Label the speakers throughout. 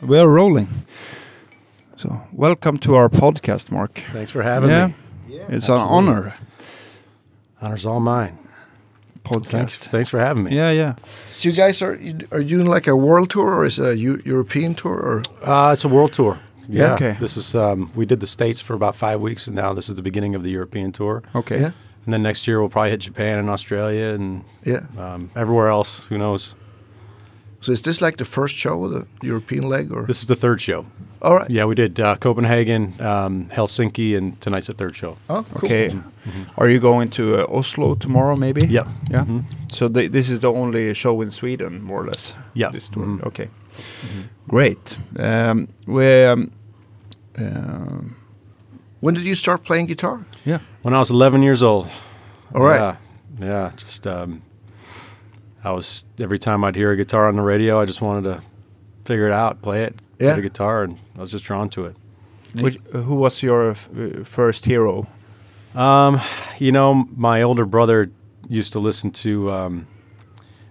Speaker 1: We're rolling. So, welcome to our podcast, Mark.
Speaker 2: Thanks for having
Speaker 1: yeah,
Speaker 2: me.
Speaker 1: it's an
Speaker 2: absolutely.
Speaker 1: honor.
Speaker 2: Honor's all mine. Thanks.
Speaker 1: Podcast.
Speaker 2: Thanks for having me.
Speaker 1: Yeah, yeah.
Speaker 3: So you guys are you, are you doing like a world tour or is it a Eu- European tour or
Speaker 2: Uh, it's a world tour.
Speaker 1: Yeah. Okay.
Speaker 2: This is um, we did the states for about five weeks, and now this is the beginning of the European tour.
Speaker 1: Okay.
Speaker 3: yeah
Speaker 2: And then next year we'll probably hit Japan and Australia and
Speaker 3: yeah?
Speaker 2: um, everywhere else. Who knows?
Speaker 3: So is this like the first show, the European leg, or
Speaker 2: This is the third show.
Speaker 3: all right?
Speaker 2: Yeah, we did uh, Copenhagen, um, Helsinki, and tonight's the third show.
Speaker 3: Oh, cool.
Speaker 1: Okay. Are you going to uh, Oslo tomorrow, maybe?
Speaker 2: Mm-hmm. Yeah. Mm-hmm.
Speaker 1: Yeah. So th- this is the only show in Sweden, more or less.
Speaker 2: Yeah.
Speaker 1: This tour.
Speaker 2: Mhm.
Speaker 1: Okay. Great. Um, we. Um, um,
Speaker 3: When did you start playing guitar?
Speaker 1: yeah.
Speaker 2: When I was 11 years old.
Speaker 3: All right.
Speaker 2: Yeah, yeah. Just um, I was every time I'd hear a guitar on the radio, I just wanted to figure it out, play it,
Speaker 3: Yeah.
Speaker 2: get a guitar, and I was just drawn to it.
Speaker 1: Which, who was your f- uh, first hero?
Speaker 2: Um, you know, my older brother used to listen to um,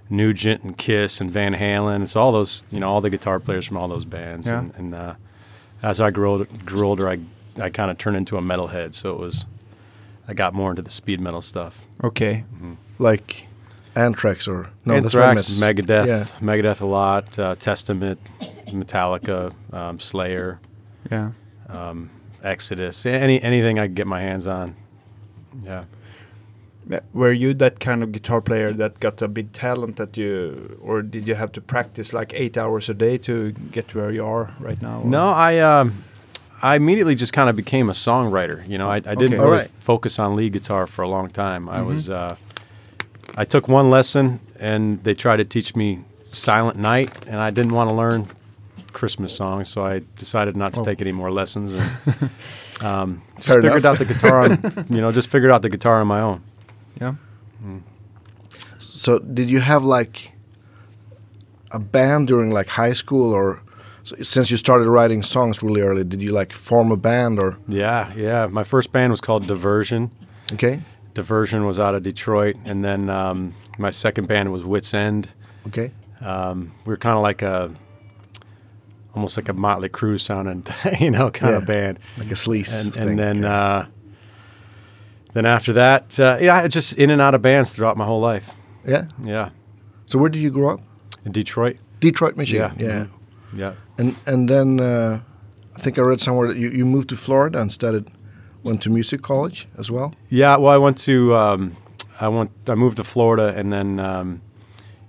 Speaker 2: Nugent and Kiss and Van Halen. It's all those, you know, all the guitar players from all those bands.
Speaker 1: Yeah.
Speaker 2: And, and uh, as I grew, old- grew older, I I kind of turned into a metalhead. So it was, I got more into the speed metal stuff.
Speaker 1: Okay.
Speaker 2: Mm-hmm.
Speaker 3: Like Anthrax or no? that's
Speaker 2: Anthrax,
Speaker 3: Megadeth.
Speaker 2: Megadeth,
Speaker 3: Yeah.
Speaker 2: Megadeth a lot, uh, Testament, Metallica, um, Slayer,
Speaker 1: Yeah.
Speaker 2: Exodus, any anything I could get my hands on. Yeah.
Speaker 1: Uh, Were you that kind of guitar player that got a big talent that you, or did you have to practice like eight hours a day to get to where you are right now? or-
Speaker 2: No, I um, I immediately just kind of became a songwriter. You know, I, I didn't
Speaker 1: Okay.
Speaker 2: really
Speaker 3: Alright.
Speaker 2: focus on lead guitar for a long time.
Speaker 3: Mm-hmm.
Speaker 2: I was uh, I took one lesson and they tried to teach me Silent Night, and I didn't want to learn Christmas songs, so I decided not to take any more lessons and um, just
Speaker 3: Oh. Fair
Speaker 2: figured
Speaker 3: enough.
Speaker 2: out the guitar. On, you know, just figured out the guitar on my own.
Speaker 1: Yeah.
Speaker 3: So did you have like a band during like high school or so since you started writing songs really early? Did you like form a band or
Speaker 2: Yeah, yeah. My first band was called Diversion.
Speaker 3: okay?
Speaker 2: Diversion was out of Detroit, and then um, my second band was Wits End.
Speaker 3: Okay,
Speaker 2: we were kind of like a almost like a Motley Crue sounding, you know, kind
Speaker 3: Yeah.
Speaker 2: of band.
Speaker 3: like a sleaze.
Speaker 2: And,
Speaker 3: thing.
Speaker 2: and then uh, then after that, uh, yeah, I just in and out of bands throughout my whole life.
Speaker 3: yeah.
Speaker 2: Yeah,
Speaker 3: So where did you grow up?
Speaker 2: in Detroit.
Speaker 3: Detroit, Michigan.
Speaker 2: Yeah.
Speaker 3: Yeah,
Speaker 2: Mhm. Yeah,
Speaker 3: and and then uh, I think I read somewhere that you, you moved to Florida and studied, went to music college as well.
Speaker 2: yeah. Well, I went to um, I went I moved to Florida, and then um,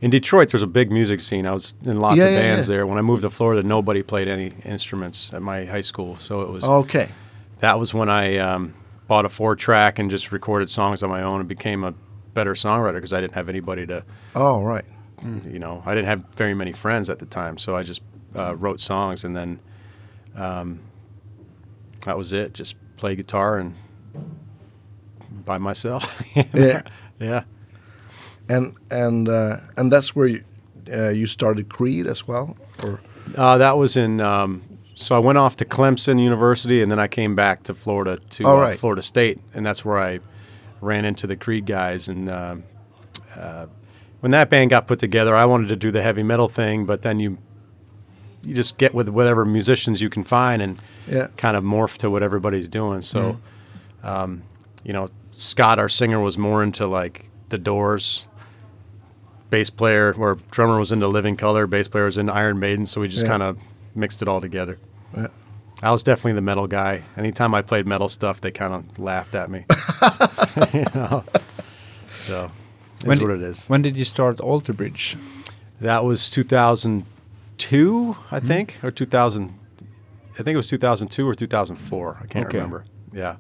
Speaker 2: in Detroit there's a big music scene. I was in lots
Speaker 3: Yeah,
Speaker 2: of
Speaker 3: yeah,
Speaker 2: bands
Speaker 3: yeah.
Speaker 2: there. When I moved to Florida, nobody played any instruments at my high school, so it was
Speaker 3: Okay,
Speaker 2: that was when I um, bought a four track and just recorded songs on my own and became a better songwriter because I didn't have anybody to,
Speaker 3: oh right,
Speaker 2: you know, I didn't have very many friends at the time. So I just uh, wrote songs and then um, that was it. Just play guitar and by myself.
Speaker 3: Yeah.
Speaker 2: Yeah.
Speaker 3: and and uh, and that's where you, uh, you started Creed as well, or
Speaker 2: Uh, that was in. Um, so I went off to Clemson University, and then I came back to Florida to
Speaker 3: All
Speaker 2: uh,
Speaker 3: right.
Speaker 2: Florida State, and that's where I ran into the Creed guys. And um uh, when that band got put together, I wanted to do the heavy metal thing, but then you you just get with whatever musicians you can find and
Speaker 3: Yeah. Mm-hmm.
Speaker 2: kind of morph to what everybody's doing. So, um, you know, Scott, our singer, was more into like the Doors. Bass player or drummer was into Living Color. Bass player was into Iron Maiden. So we just
Speaker 3: Yeah.
Speaker 2: kind of mixed it all together.
Speaker 3: Yeah.
Speaker 2: I was definitely the metal guy. Anytime I played metal stuff, they kind of laughed at me. you know? So it's
Speaker 1: When
Speaker 2: what
Speaker 1: di-
Speaker 2: it is.
Speaker 1: When did you start Alter Bridge?
Speaker 2: That was 2002, I
Speaker 1: Mm-hmm.
Speaker 2: think, or 2000. I think it was 2002 or 2004. I can't
Speaker 1: Okay.
Speaker 2: remember. Yeah.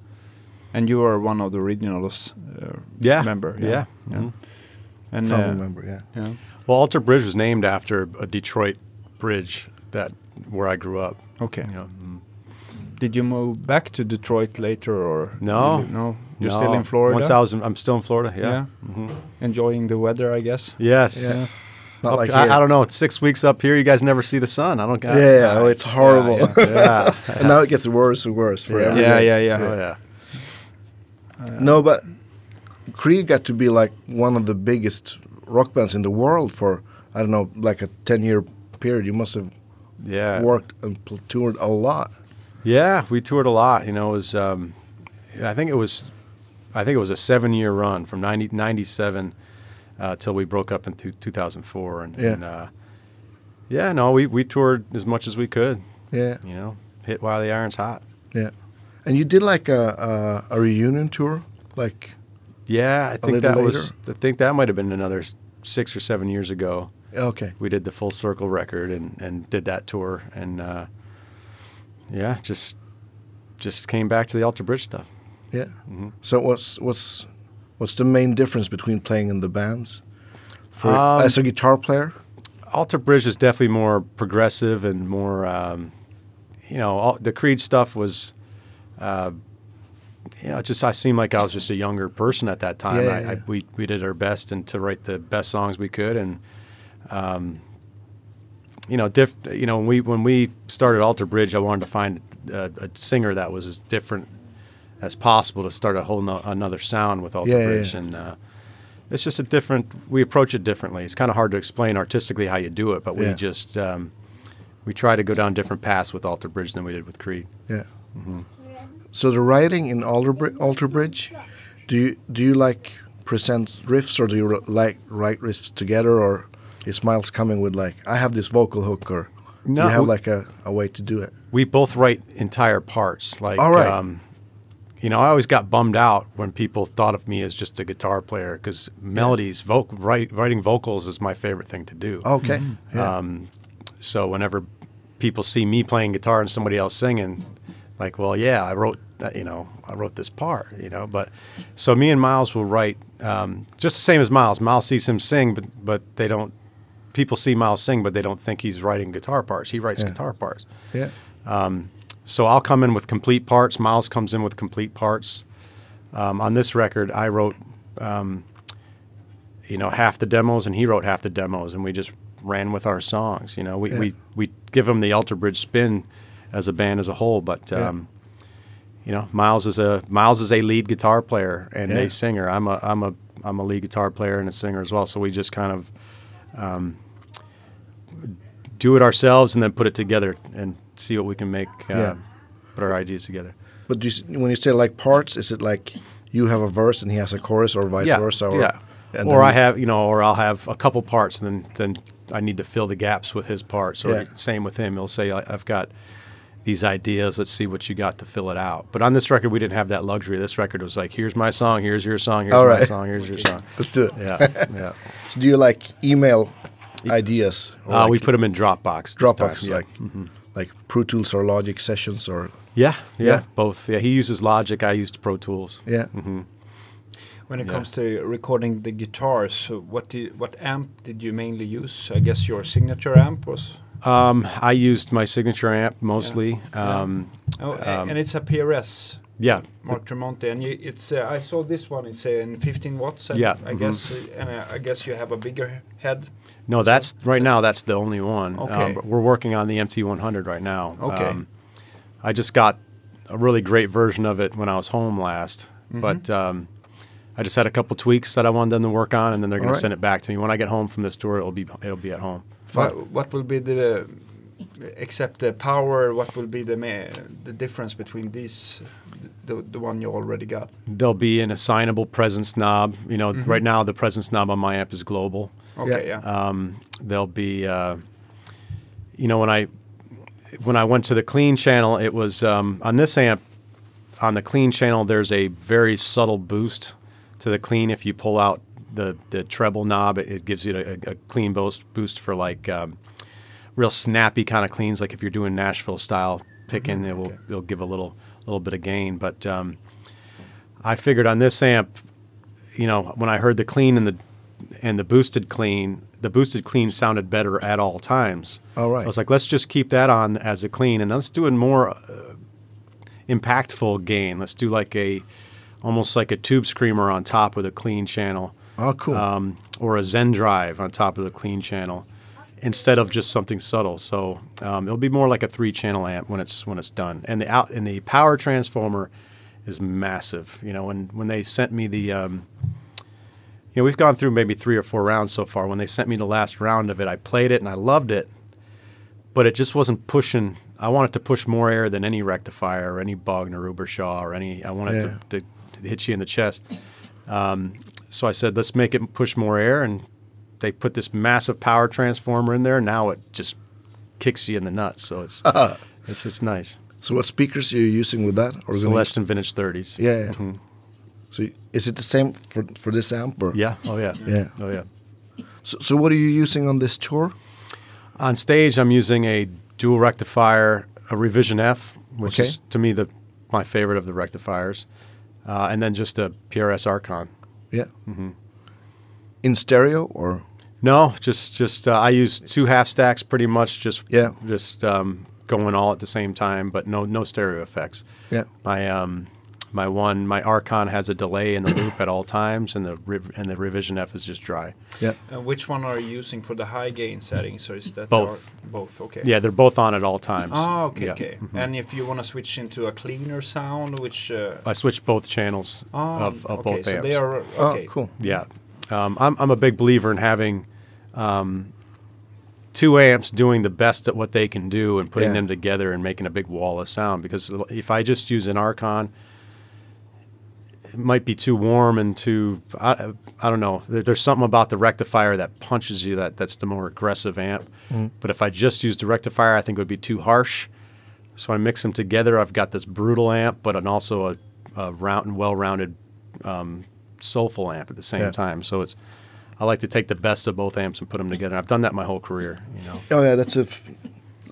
Speaker 1: And you are one of the originals. Uh,
Speaker 2: Yeah.
Speaker 1: Member.
Speaker 2: Yeah. Mm-hmm.
Speaker 1: yeah. And
Speaker 3: family
Speaker 1: uh,
Speaker 3: member, yeah.
Speaker 1: yeah.
Speaker 2: Well, Alter Bridge was named after a Detroit bridge that where I grew up.
Speaker 1: Okay.
Speaker 2: You know, mm.
Speaker 1: Did you move back to Detroit later or
Speaker 2: No.
Speaker 1: you- no? You're
Speaker 2: No,
Speaker 1: still in Florida.
Speaker 2: Once I was, in, I'm still in Florida. Yeah. Mm-hmm.
Speaker 1: Yeah. Enjoying the weather, I guess.
Speaker 2: Yes.
Speaker 3: Yeah. Not
Speaker 2: Up-
Speaker 3: like
Speaker 2: I,
Speaker 3: here.
Speaker 2: I don't know. It's six weeks up here. You guys never see the sun. I don't.
Speaker 3: Yeah, yeah, oh, it's horrible.
Speaker 2: Yeah, yeah.
Speaker 3: and now it gets worse and worse for
Speaker 2: Yeah.
Speaker 3: every
Speaker 1: Yeah,
Speaker 3: day.
Speaker 1: yeah, yeah.
Speaker 2: Oh, yeah.
Speaker 3: No, but Creed got to be like one of the biggest rock bands in the world for I don't know, like a ten-year period. You must have
Speaker 2: Yeah.
Speaker 3: worked and pl- toured a lot.
Speaker 2: Yeah, we toured a lot. You know, it was um, I think it was I think it was a seven year run from 90, 97 uh, till we broke up in two- 2004 and,
Speaker 3: Yeah.
Speaker 2: and uh, yeah, no, we, we toured as much as we could.
Speaker 3: Yeah,
Speaker 2: You know, hit while the iron's hot.
Speaker 3: yeah. And you did like a a, a reunion tour, like
Speaker 2: Yeah, I think
Speaker 3: little
Speaker 2: that was I think that might have been another s- six or seven years ago.
Speaker 3: okay,
Speaker 2: We did the full circle record and, and did that tour and uh, yeah, just just came back to the Alter Bridge stuff.
Speaker 3: yeah.
Speaker 2: Mm-hmm.
Speaker 3: So what's what's what's the main difference between playing in the bands for
Speaker 2: Um,
Speaker 3: as a guitar player?
Speaker 2: Alter Bridge is definitely more progressive and more, um, you know, all, the Creed stuff was, uh, you know, just I seemed like I was just a younger person at that time.
Speaker 3: Yeah,
Speaker 2: I,
Speaker 3: yeah, yeah.
Speaker 2: I, we we did our best and to write the best songs we could, and um, you know, diff, you know, when we when we started Alter Bridge, I wanted to find a, a singer that was as different as possible to start a whole no, another sound with Alter
Speaker 3: Yeah, yeah,
Speaker 2: Bridge
Speaker 3: yeah.
Speaker 2: and. Uh, it's just a different we approach it differently it's kind of hard to explain artistically how you do it but we
Speaker 3: Yeah.
Speaker 2: just um, we try to go down different paths with alter bridge than we did with creed
Speaker 3: Yeah.
Speaker 2: Mm-hmm.
Speaker 3: So the writing in Alter, Bri- Alter Bridge, do you do you like present riffs or do you ri- like write riffs together or is Miles coming with like I have this vocal hook or
Speaker 2: No,
Speaker 3: you have
Speaker 2: we-
Speaker 3: like a, a way to do it?
Speaker 2: we both write entire parts like
Speaker 3: All right.
Speaker 2: um, you know i always got bummed out when people thought of me as just a guitar player because melodies voc- write, writing vocals is my favorite thing to do
Speaker 3: Okay.
Speaker 2: Mm-hmm.
Speaker 3: Yeah.
Speaker 2: Um, so whenever people see me playing guitar and somebody else singing like well yeah i wrote that you know i wrote this part you know but so me and miles will write um, just the same as miles miles sees him sing but but they don't people see miles sing but they don't think he's writing guitar parts he writes guitar parts
Speaker 3: yeah.
Speaker 2: so I'll come in with complete parts. Miles comes in with complete parts. Um, on this record, I wrote, um, you know, half the demos, and he wrote half the demos, and we just ran with our songs. You know, we
Speaker 3: Yeah.
Speaker 2: we, we give them the Alter Bridge spin as a band as a whole, but um, you know, Miles is a Miles is a lead guitar player and
Speaker 3: Yeah.
Speaker 2: a singer. I'm a I'm a I'm a lead guitar player and a singer as well. So we just kind of do it ourselves and then put it together and see what we can make. Uh,
Speaker 3: Yeah.
Speaker 2: Put our ideas together.
Speaker 3: But do you, s- when you say like parts, is it like you have a verse and he has a chorus or vice versa? Or,
Speaker 2: yeah.
Speaker 3: and
Speaker 2: or
Speaker 3: then
Speaker 2: I
Speaker 3: you-
Speaker 2: have, you know, or I'll have a couple parts, and then then I need to fill the gaps with his parts. Or
Speaker 3: Yeah.
Speaker 2: same with him, he'll say, I, "I've got these ideas. Let's see what you got to fill it out." But on this record, we didn't have that luxury. This record was like, "Here's my song. Here's your song. Here's
Speaker 3: All
Speaker 2: my
Speaker 3: right.
Speaker 2: song. Here's your song."
Speaker 3: Let's do it.
Speaker 2: Yeah, yeah.
Speaker 3: So do you like email ideas? Or
Speaker 2: Uh,
Speaker 3: like
Speaker 2: we put them in Dropbox. this
Speaker 3: Dropbox,
Speaker 2: time, yeah. Mm-hmm.
Speaker 3: like like Pro Tools or Logic sessions or
Speaker 2: yeah, yeah,
Speaker 3: Yeah.
Speaker 2: both. Yeah, he uses Logic. I used Pro Tools.
Speaker 3: yeah.
Speaker 2: Mm-hmm.
Speaker 1: When it comes to recording the guitars, so what do you- what amp did you mainly use? I guess your signature amp was.
Speaker 2: Um, I used my signature amp mostly.
Speaker 1: Yeah.
Speaker 2: Um,
Speaker 1: Oh, a- and it's a PRS.
Speaker 2: yeah.
Speaker 1: Mark Tremonti, and you, it's uh, I saw this one. It's uh, in 15 watts. And
Speaker 2: Yeah,
Speaker 1: I
Speaker 2: mhm.
Speaker 1: guess, uh, and uh, I guess you have a bigger head.
Speaker 2: No, that's right now. That's the only one.
Speaker 1: Okay.
Speaker 2: Um, but we're working on the MT100 right now. Um,
Speaker 1: Okay.
Speaker 2: I just got a really great version of it when I was home last, but um, I just had a couple tweaks that I wanted them to work on, and then they're going
Speaker 3: All
Speaker 2: to
Speaker 3: right.
Speaker 2: send it back to me when I get home from this tour. It'll be it'll be at home.
Speaker 3: Fine.
Speaker 1: What, what will be the except the power? What will be the ma- the difference between these, the the one you already got?
Speaker 2: There'll be an assignable presence knob. You know, right now the presence knob on my amp is global.
Speaker 1: Okay, yeah.
Speaker 2: um, there'll be uh, you know when I when I went to the clean channel it was um, on this amp on the clean channel there's a very subtle boost to the clean if you pull out the the treble knob it, it gives you a, a clean boost boost for like um, real snappy kind of cleans like if you're doing Nashville style picking it will
Speaker 1: okay.
Speaker 2: it'll give a little little bit of gain but um, I figured on this amp you know, when I heard the clean and the and the boosted clean, the boosted clean sounded better at all times.
Speaker 3: All right.
Speaker 2: I was like, let's just keep that on as a clean, and let's do a more uh, impactful gain. Let's do like a almost like a tube screamer on top with a clean channel,
Speaker 3: Oh, cool.
Speaker 2: um, or a Zen drive on top of the clean channel, instead of just something subtle. So um, it'll be more like a three-channel amp when it's when it's done. And the out and the power transformer is massive. You know, when when they sent me the um, you know, we've gone through maybe three or four rounds so far. When they sent me the last round of it, I played it and I loved it. but it just wasn't pushing. I wanted to push more air than any rectifier or any Bogner Ubershaw or any. I wanted
Speaker 3: Yeah.
Speaker 2: to, to hit you in the chest. Um, so I said, let's make it push more air, and they put this massive power transformer in there. Now it just kicks you in the nuts. So it's it's it's nice.
Speaker 3: So what speakers are you using with that? Or
Speaker 2: Celestion Vintage Thirties.
Speaker 3: Yeah. yeah.
Speaker 2: Mm-hmm.
Speaker 3: So is it the same for for this amp? Or?
Speaker 2: Yeah. Oh yeah.
Speaker 3: Yeah.
Speaker 2: Oh yeah.
Speaker 3: So, so what are you using on this tour?
Speaker 2: On stage, I'm using a dual rectifier, a Revision F, which
Speaker 3: Okay.
Speaker 2: is to me the my favorite of the rectifiers, uh, and then just a PRS Archon.
Speaker 3: Yeah.
Speaker 2: Mm-hmm.
Speaker 3: In stereo or
Speaker 2: No, just just uh, I use two half stacks pretty much, just
Speaker 3: Yeah.
Speaker 2: just um, going all at the same time, but no no stereo effects.
Speaker 3: Yeah.
Speaker 2: my um my one my Archon has a delay in the loop at all times, and the rev- and the Revision F is just dry.
Speaker 3: yeah.
Speaker 1: Uh, which one are you using for the high gain setting? So is that
Speaker 2: Both.
Speaker 1: your- both? Okay.
Speaker 2: Yeah, they're both on at all times.
Speaker 1: Oh, okay,
Speaker 2: Yeah.
Speaker 1: okay.
Speaker 3: Mm-hmm.
Speaker 1: And if you want to switch into a cleaner sound, which uh,
Speaker 2: I switch both channels
Speaker 1: oh,
Speaker 2: of, of
Speaker 1: okay,
Speaker 2: both
Speaker 1: so
Speaker 2: amps.
Speaker 1: they are okay.
Speaker 3: Oh, cool.
Speaker 2: Yeah, um, I'm I'm a big believer in having um, two amps doing the best at what they can do and putting
Speaker 3: Yeah.
Speaker 2: them together and making a big wall of sound. Because l- if I just use an Archon, it might be too warm and too I, I don't know. There, there's something about the rectifier that punches you that that's the more aggressive amp. But if I just used the rectifier, I think it would be too harsh. So I mix them together. I've got this brutal amp, but an also a, a round and well-rounded um, soulful amp at the same
Speaker 3: Yeah.
Speaker 2: time. So it's I like to take the best of both amps and put them together. I've done that my whole career. You know,
Speaker 3: Oh yeah, that's a. F-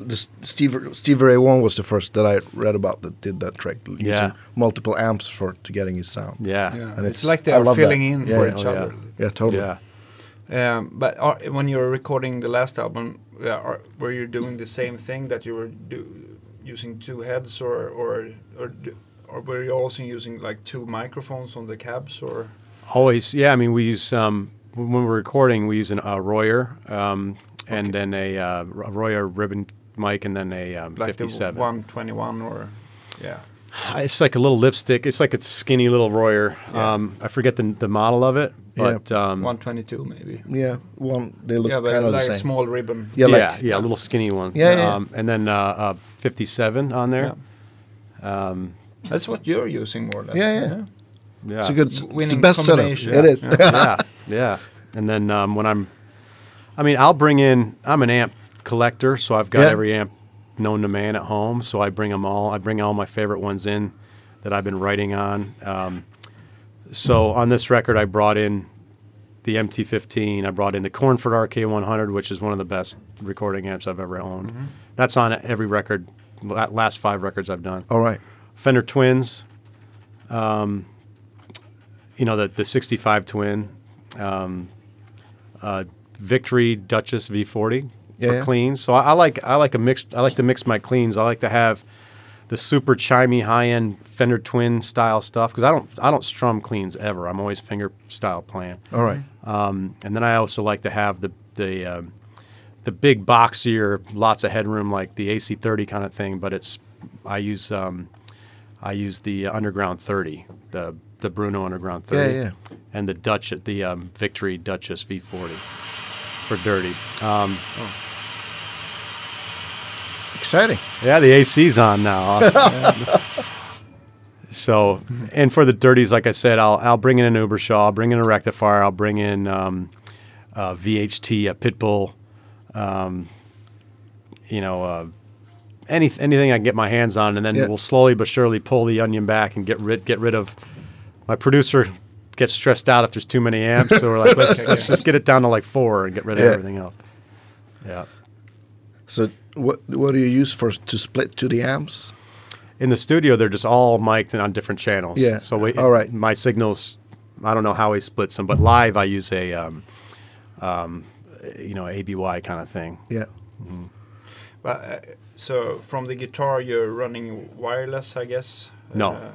Speaker 3: the S- Steve Steve Ray Vaughan was the first that I read about that did that trick, using
Speaker 2: Yeah.
Speaker 3: multiple amps for to getting his sound.
Speaker 2: yeah,
Speaker 1: Yeah,
Speaker 3: And
Speaker 1: it's,
Speaker 3: it's-
Speaker 1: like they
Speaker 3: I
Speaker 1: are
Speaker 3: love that.
Speaker 1: filling in
Speaker 3: Yeah,
Speaker 1: for
Speaker 3: yeah.
Speaker 1: each
Speaker 2: Oh, yeah.
Speaker 1: other.
Speaker 3: yeah, totally.
Speaker 2: yeah.
Speaker 1: Um, but are, when you were recording the last album, uh, are, were you doing the same thing that you were do, using two heads, or or or, do, or were you also using like two microphones on the cabs, or
Speaker 2: Always, yeah. I mean, we use um, when we're recording, we use an uh, Royer um, and then a uh, R- Royer ribbon mic, and then a um,
Speaker 1: like the
Speaker 2: 57.
Speaker 1: one twenty one, or yeah,
Speaker 2: Uh, It's like a little lipstick. It's like a skinny little Royer.
Speaker 1: Yeah.
Speaker 2: Um, I forget the, the model of it,
Speaker 3: Yeah.
Speaker 2: but um,
Speaker 1: one twenty two maybe.
Speaker 3: Yeah, one they Mm. look
Speaker 1: Yeah, but
Speaker 3: kind of
Speaker 1: like
Speaker 3: the
Speaker 1: a
Speaker 3: same.
Speaker 1: small ribbon.
Speaker 3: Yeah, like-
Speaker 2: yeah, yeah, a little skinny one.
Speaker 3: Yeah, yeah,
Speaker 2: Um, and then uh, uh, 57 on there.
Speaker 1: That's what you're using more or less.
Speaker 3: Yeah, yeah.
Speaker 2: Yeah.
Speaker 3: It's a
Speaker 1: W-
Speaker 3: good, it's the
Speaker 1: winning
Speaker 3: best setup.
Speaker 1: combination.
Speaker 3: It is.
Speaker 1: Yeah.
Speaker 2: yeah, yeah. And then um, when I'm, I mean, I'll bring in. I'm an amp collector, so I've got
Speaker 3: Yeah.
Speaker 2: every amp known to man at home. So I bring them all. I bring all my favorite ones in that I've been writing on. Um, so on this record, I brought in the MT15. I brought in the Cornford RK100, which is one of the best recording amps I've ever owned. That's on every record. la- Last five records I've done.
Speaker 3: All right.
Speaker 2: Fender Twins, um, you know, the, the 65 Twin, um, uh, Victory Duchess V40
Speaker 3: Yeah,
Speaker 2: for
Speaker 3: yeah.
Speaker 2: cleans. So I, I like I like a mixed I like to mix my cleans. I like to have the super chimey high end Fender Twin style stuff because I don't I don't strum cleans ever. I'm always finger style playing.
Speaker 3: All right.
Speaker 2: Um, and then I also like to have the the um, the big boxier, lots of headroom, like the AC30 kind of thing. But it's I use um, I use the Underground 30, the the Bruno Underground 30,
Speaker 3: Yeah,
Speaker 2: and the Dutch the um, Victory Duchess V40 for dirty. Um,
Speaker 3: Exciting.
Speaker 2: yeah, the AC's on now. so, and for the dirties, like I said, I'll I'll bring in an Ubershaw, I'll bring in a rectifier, I'll bring in um, a VHT, a Pitbull, um, you know, uh, any anything I can get my hands on, and then
Speaker 3: Yeah.
Speaker 2: we'll slowly but surely pull the onion back and get rid get rid of. My producer gets stressed out if there's too many amps, so we're like, let's, let's just get it down to like four and get rid of
Speaker 3: Yeah.
Speaker 2: everything else. Yeah.
Speaker 3: So what what do you use for to split to the amps?
Speaker 2: in the studio they're just all mic'd and on different channels.
Speaker 3: Yeah.
Speaker 2: So we,
Speaker 3: All right.
Speaker 2: my signals, I don't know how I splits them, but live I use a, um, um, you know, ABY kind of thing.
Speaker 3: Yeah.
Speaker 1: But, uh, so from the guitar, you're running wireless, I guess.
Speaker 2: No,
Speaker 1: Uh,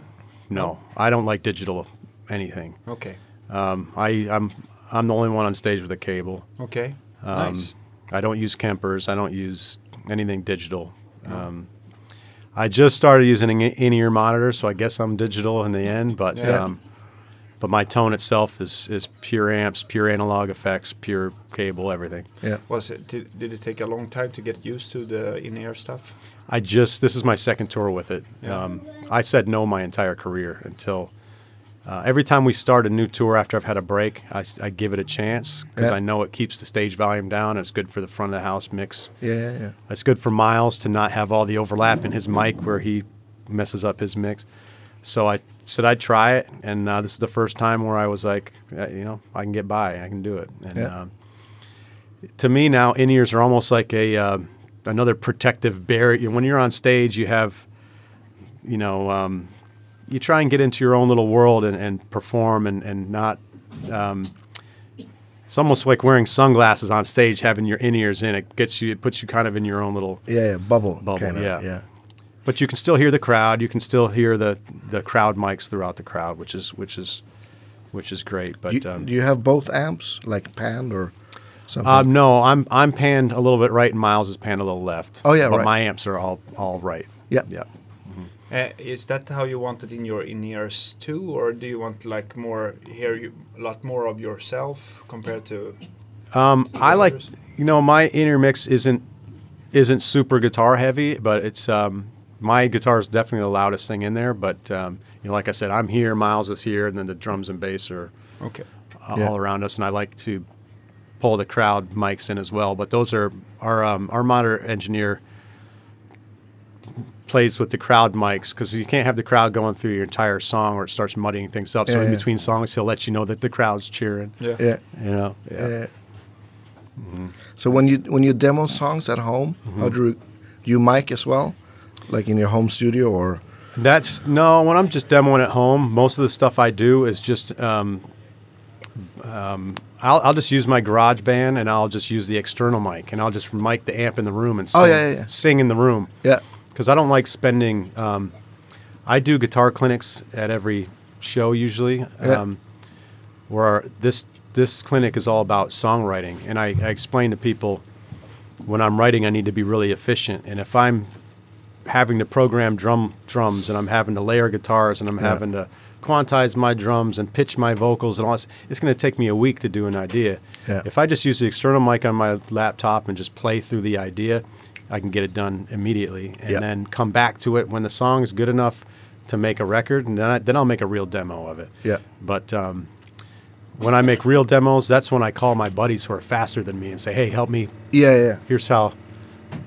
Speaker 2: no, I don't like digital anything.
Speaker 1: okay.
Speaker 2: Um, I I'm I'm the only one on stage with a cable.
Speaker 1: Okay.
Speaker 2: Um,
Speaker 1: nice.
Speaker 2: I don't use Kempers. I don't use anything digital. Um, I just started using an in-ear monitor, so I guess I'm digital in the end. But
Speaker 1: Yeah.
Speaker 2: um, But my tone itself is is pure amps, pure analog effects, pure cable, everything.
Speaker 3: Yeah.
Speaker 1: Was it did, did it take a long time to get used to the in-ear stuff?
Speaker 2: I just this is my second tour with it. Um, I said no my entire career until uh, every time we start a new tour after I've had a break, I, s- I give it a chance because
Speaker 3: Yeah.
Speaker 2: I know it keeps the stage volume down. And it's good for the front of the house mix.
Speaker 3: Yeah, yeah, yeah.
Speaker 2: It's good for Miles to not have all the overlap in his mic where he messes up his mix. So I said I'd try it, and uh, this is the first time where I was like, uh, you know, I can get by, I can do it. And
Speaker 3: Yeah.
Speaker 2: um, to me now, in ears are almost like a um another protective barrier. When you're on stage, you have, you know, um, you try and get into your own little world and, and perform and and not it's almost like wearing sunglasses on stage, having your in ears in. It gets you, it puts you kind of in your own little.
Speaker 3: Yeah, yeah, bubble.
Speaker 2: Bubble,
Speaker 3: kinda,
Speaker 2: yeah.
Speaker 3: yeah.
Speaker 2: But you can still hear the crowd. You can still hear the the crowd mics throughout the crowd, which is which is which is great. But
Speaker 3: You,
Speaker 2: um,
Speaker 3: do you have both amps, like pan or something?
Speaker 2: um, no, I'm I'm panned a little bit right, and Miles is panned a little left.
Speaker 3: Oh, yeah,
Speaker 2: but
Speaker 3: right.
Speaker 2: my amps are all all right.
Speaker 3: Yeah.
Speaker 2: yeah.
Speaker 1: Uh, is that how you want it in your in-ears too, or do you want like more hear you, a lot more of yourself compared to?
Speaker 2: Um, I like
Speaker 1: others?
Speaker 2: you know my inner mix isn't isn't super guitar heavy, but it's um, my guitar is definitely the loudest thing in there. But um, you know, like I said, I'm here, Miles is here, and then the drums and bass are
Speaker 1: Okay.
Speaker 2: uh,
Speaker 3: Yeah.
Speaker 2: all around us, and I like to pull the crowd mics in as well. But those are our um, our monitor engineer plays with the crowd mics because you can't have the crowd going through your entire song or it starts muddying things up. so
Speaker 3: Yeah,
Speaker 2: in
Speaker 3: yeah.
Speaker 2: between songs, he'll let you know that the crowd's cheering.
Speaker 1: Yeah.
Speaker 3: yeah.
Speaker 2: You know,
Speaker 3: yeah. So when you when you demo songs at home,
Speaker 2: Mm-hmm.
Speaker 3: how do you, do you mic as well, like in your home studio or?
Speaker 2: That's no. When I'm just demoing at home, most of the stuff I do is just um, um, I'll, I'll just use my garage band and I'll just use the external mic and I'll just mic the amp in the room and sing,
Speaker 3: Oh, yeah, yeah, yeah.
Speaker 2: sing in the room
Speaker 3: Yeah,
Speaker 2: because I don't like spending. Um, I do guitar clinics at every show usually,
Speaker 3: Yeah.
Speaker 2: um, where this this clinic is all about songwriting, and I, I explain to people when I'm writing, I need to be really efficient, and if I'm having to program drum drums, and I'm having to layer guitars, and I'm having to quantize my drums and pitch my vocals and all this, it's going to take me a week to do an idea.
Speaker 3: Yeah.
Speaker 2: If I just use the external mic on my laptop and just play through the idea, I can get it done immediately, and
Speaker 3: Yeah.
Speaker 2: then come back to it when the song is good enough to make a record, and then I, then I'll make a real demo of it.
Speaker 3: Yeah.
Speaker 2: But um, when I make real demos, that's when I call my buddies who are faster than me and say, "Hey, help me!
Speaker 3: yeah, yeah.
Speaker 2: Here's how,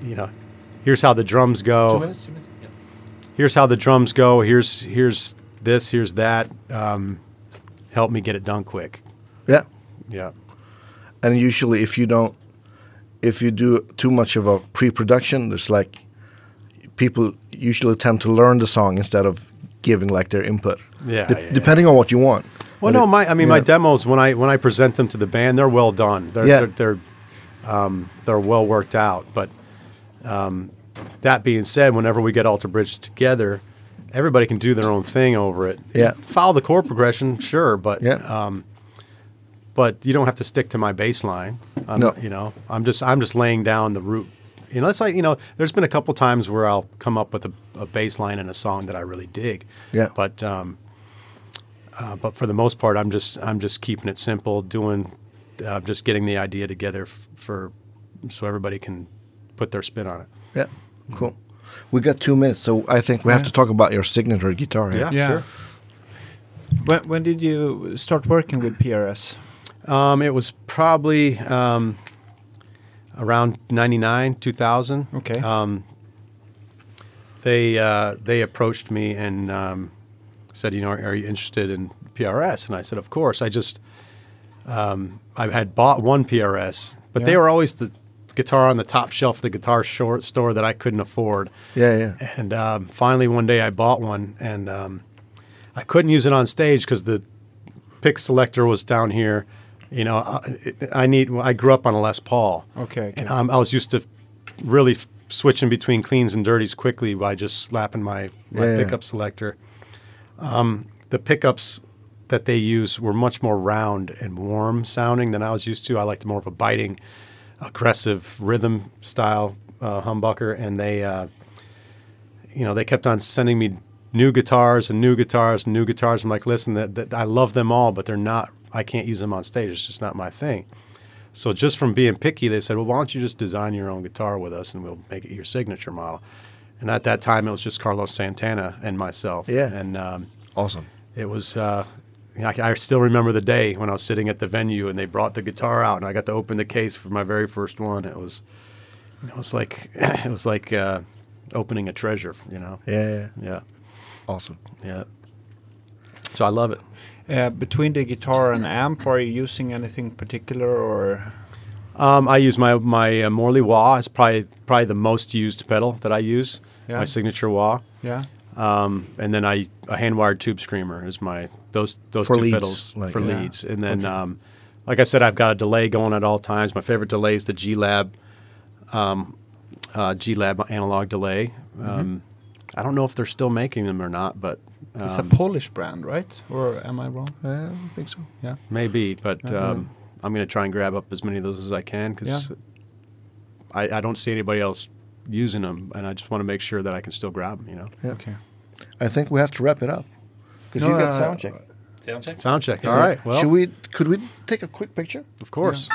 Speaker 2: you know, here's how the drums go.
Speaker 3: minutes?
Speaker 2: Here's how the drums go. Here's here's this. Here's that. Um, help me get it done quick.
Speaker 3: Yeah,
Speaker 2: Yeah.
Speaker 3: and usually if you don't, if you do too much of a pre-production, it's like people usually tend to learn the song instead of giving like their input.
Speaker 2: Yeah,
Speaker 3: Dep-
Speaker 2: yeah, yeah.
Speaker 3: depending on what you want.
Speaker 2: Well,
Speaker 3: But
Speaker 2: no,
Speaker 3: it-
Speaker 2: my I mean my
Speaker 3: yeah.
Speaker 2: demos when I when I present them to the band, they're well done. They're
Speaker 3: Yeah.
Speaker 2: they're they're, um, they're well worked out. But um, that being said, whenever we get Alter Bridge together, everybody can do their own thing over it.
Speaker 3: Yeah.
Speaker 2: follow the chord progression, sure, but
Speaker 3: Yeah.
Speaker 2: um, but you don't have to stick to my bass line. I'm,
Speaker 3: No.
Speaker 2: you know, I'm just I'm just laying down the root. Unless I, you know, there's been a couple times where I'll come up with a, a bass line in a song that I really dig.
Speaker 3: Yeah.
Speaker 2: But um, uh, but for the most part, I'm just I'm just keeping it simple, doing uh, just getting the idea together f- for so everybody can put their spin on it.
Speaker 3: Yeah, cool. We got two minutes, so I think we have to talk about your signature guitar.
Speaker 2: Yeah. sure.
Speaker 1: When when did you start working with PRS?
Speaker 2: Um, it was probably um, around '99, 2000.
Speaker 1: Okay.
Speaker 2: Um, they uh, they approached me and um, said, you know, are, are you interested in PRS? And I said, of course. I just um, I had bought one PRS, but they
Speaker 1: Yeah.
Speaker 2: were always the guitar on the top shelf of the guitar short store that I couldn't afford.
Speaker 3: Yeah, yeah.
Speaker 2: And um, finally, one day I bought one, and um, I couldn't use it on stage because the pick selector was down here. You know, I, I need. I grew up on a Les Paul.
Speaker 1: Okay, okay.
Speaker 2: And um, I was used to really f- switching between cleans and dirties quickly by just slapping my, my
Speaker 3: Yeah, yeah.
Speaker 2: pickup selector. Um, the pickups that they use were much more round and warm sounding than I was used to. I liked more of a biting, aggressive rhythm style uh, humbucker, and they. Uh, you know, they kept on sending me new guitars and new guitars and new guitars. I'm like, listen, that, that I love them all, but they're not. I can't use them on stage. It's just not my thing. So just from being picky, they said, well, why don't you just design your own guitar with us, and we'll make it your signature model. And at that time, it was just Carlos Santana and myself.
Speaker 3: Yeah.
Speaker 2: And um,
Speaker 3: Awesome.
Speaker 2: it was. Uh, I, I still remember the day when I was sitting at the venue and they brought the guitar out and I got to open the case for my very first one. It was, you know, it was like it was like uh, opening a treasure. You know.
Speaker 3: Yeah, yeah.
Speaker 2: Yeah.
Speaker 3: Awesome.
Speaker 2: Yeah. So I love it.
Speaker 1: Uh, between the guitar and amp, are you using anything particular or?
Speaker 2: Um, I use my my uh, Morley wah. It's probably probably the most used pedal that I use.
Speaker 1: Yeah.
Speaker 2: My signature wah,
Speaker 1: Yeah.
Speaker 2: um, and then I a hand wired tube screamer is my those those
Speaker 3: For
Speaker 2: two
Speaker 3: leads,
Speaker 2: pedals
Speaker 3: like,
Speaker 2: for
Speaker 3: yeah.
Speaker 2: leads. And then, um, like I said, I've got a delay going at all times. My favorite delay is the G Lab, um, uh, G Lab analog delay. Um, I don't know if they're still making them or not, but uh,
Speaker 1: it's a Polish brand, right? Or am I wrong?
Speaker 3: Uh, I don't think so.
Speaker 1: Yeah.
Speaker 2: Maybe, but um, I'm going to try and grab up as many of those as I can because
Speaker 1: Yeah.
Speaker 2: I, I don't see anybody else using them, and I just want to make sure that I can still grab them. You know,
Speaker 3: Yeah.
Speaker 1: Okay.
Speaker 3: I think we have to wrap it up because
Speaker 1: No,
Speaker 3: you
Speaker 1: no,
Speaker 3: got
Speaker 1: no,
Speaker 3: sound check.
Speaker 4: Sound check?
Speaker 2: sound check. All right. Well,
Speaker 3: should we? Could we take a quick picture?
Speaker 2: of course.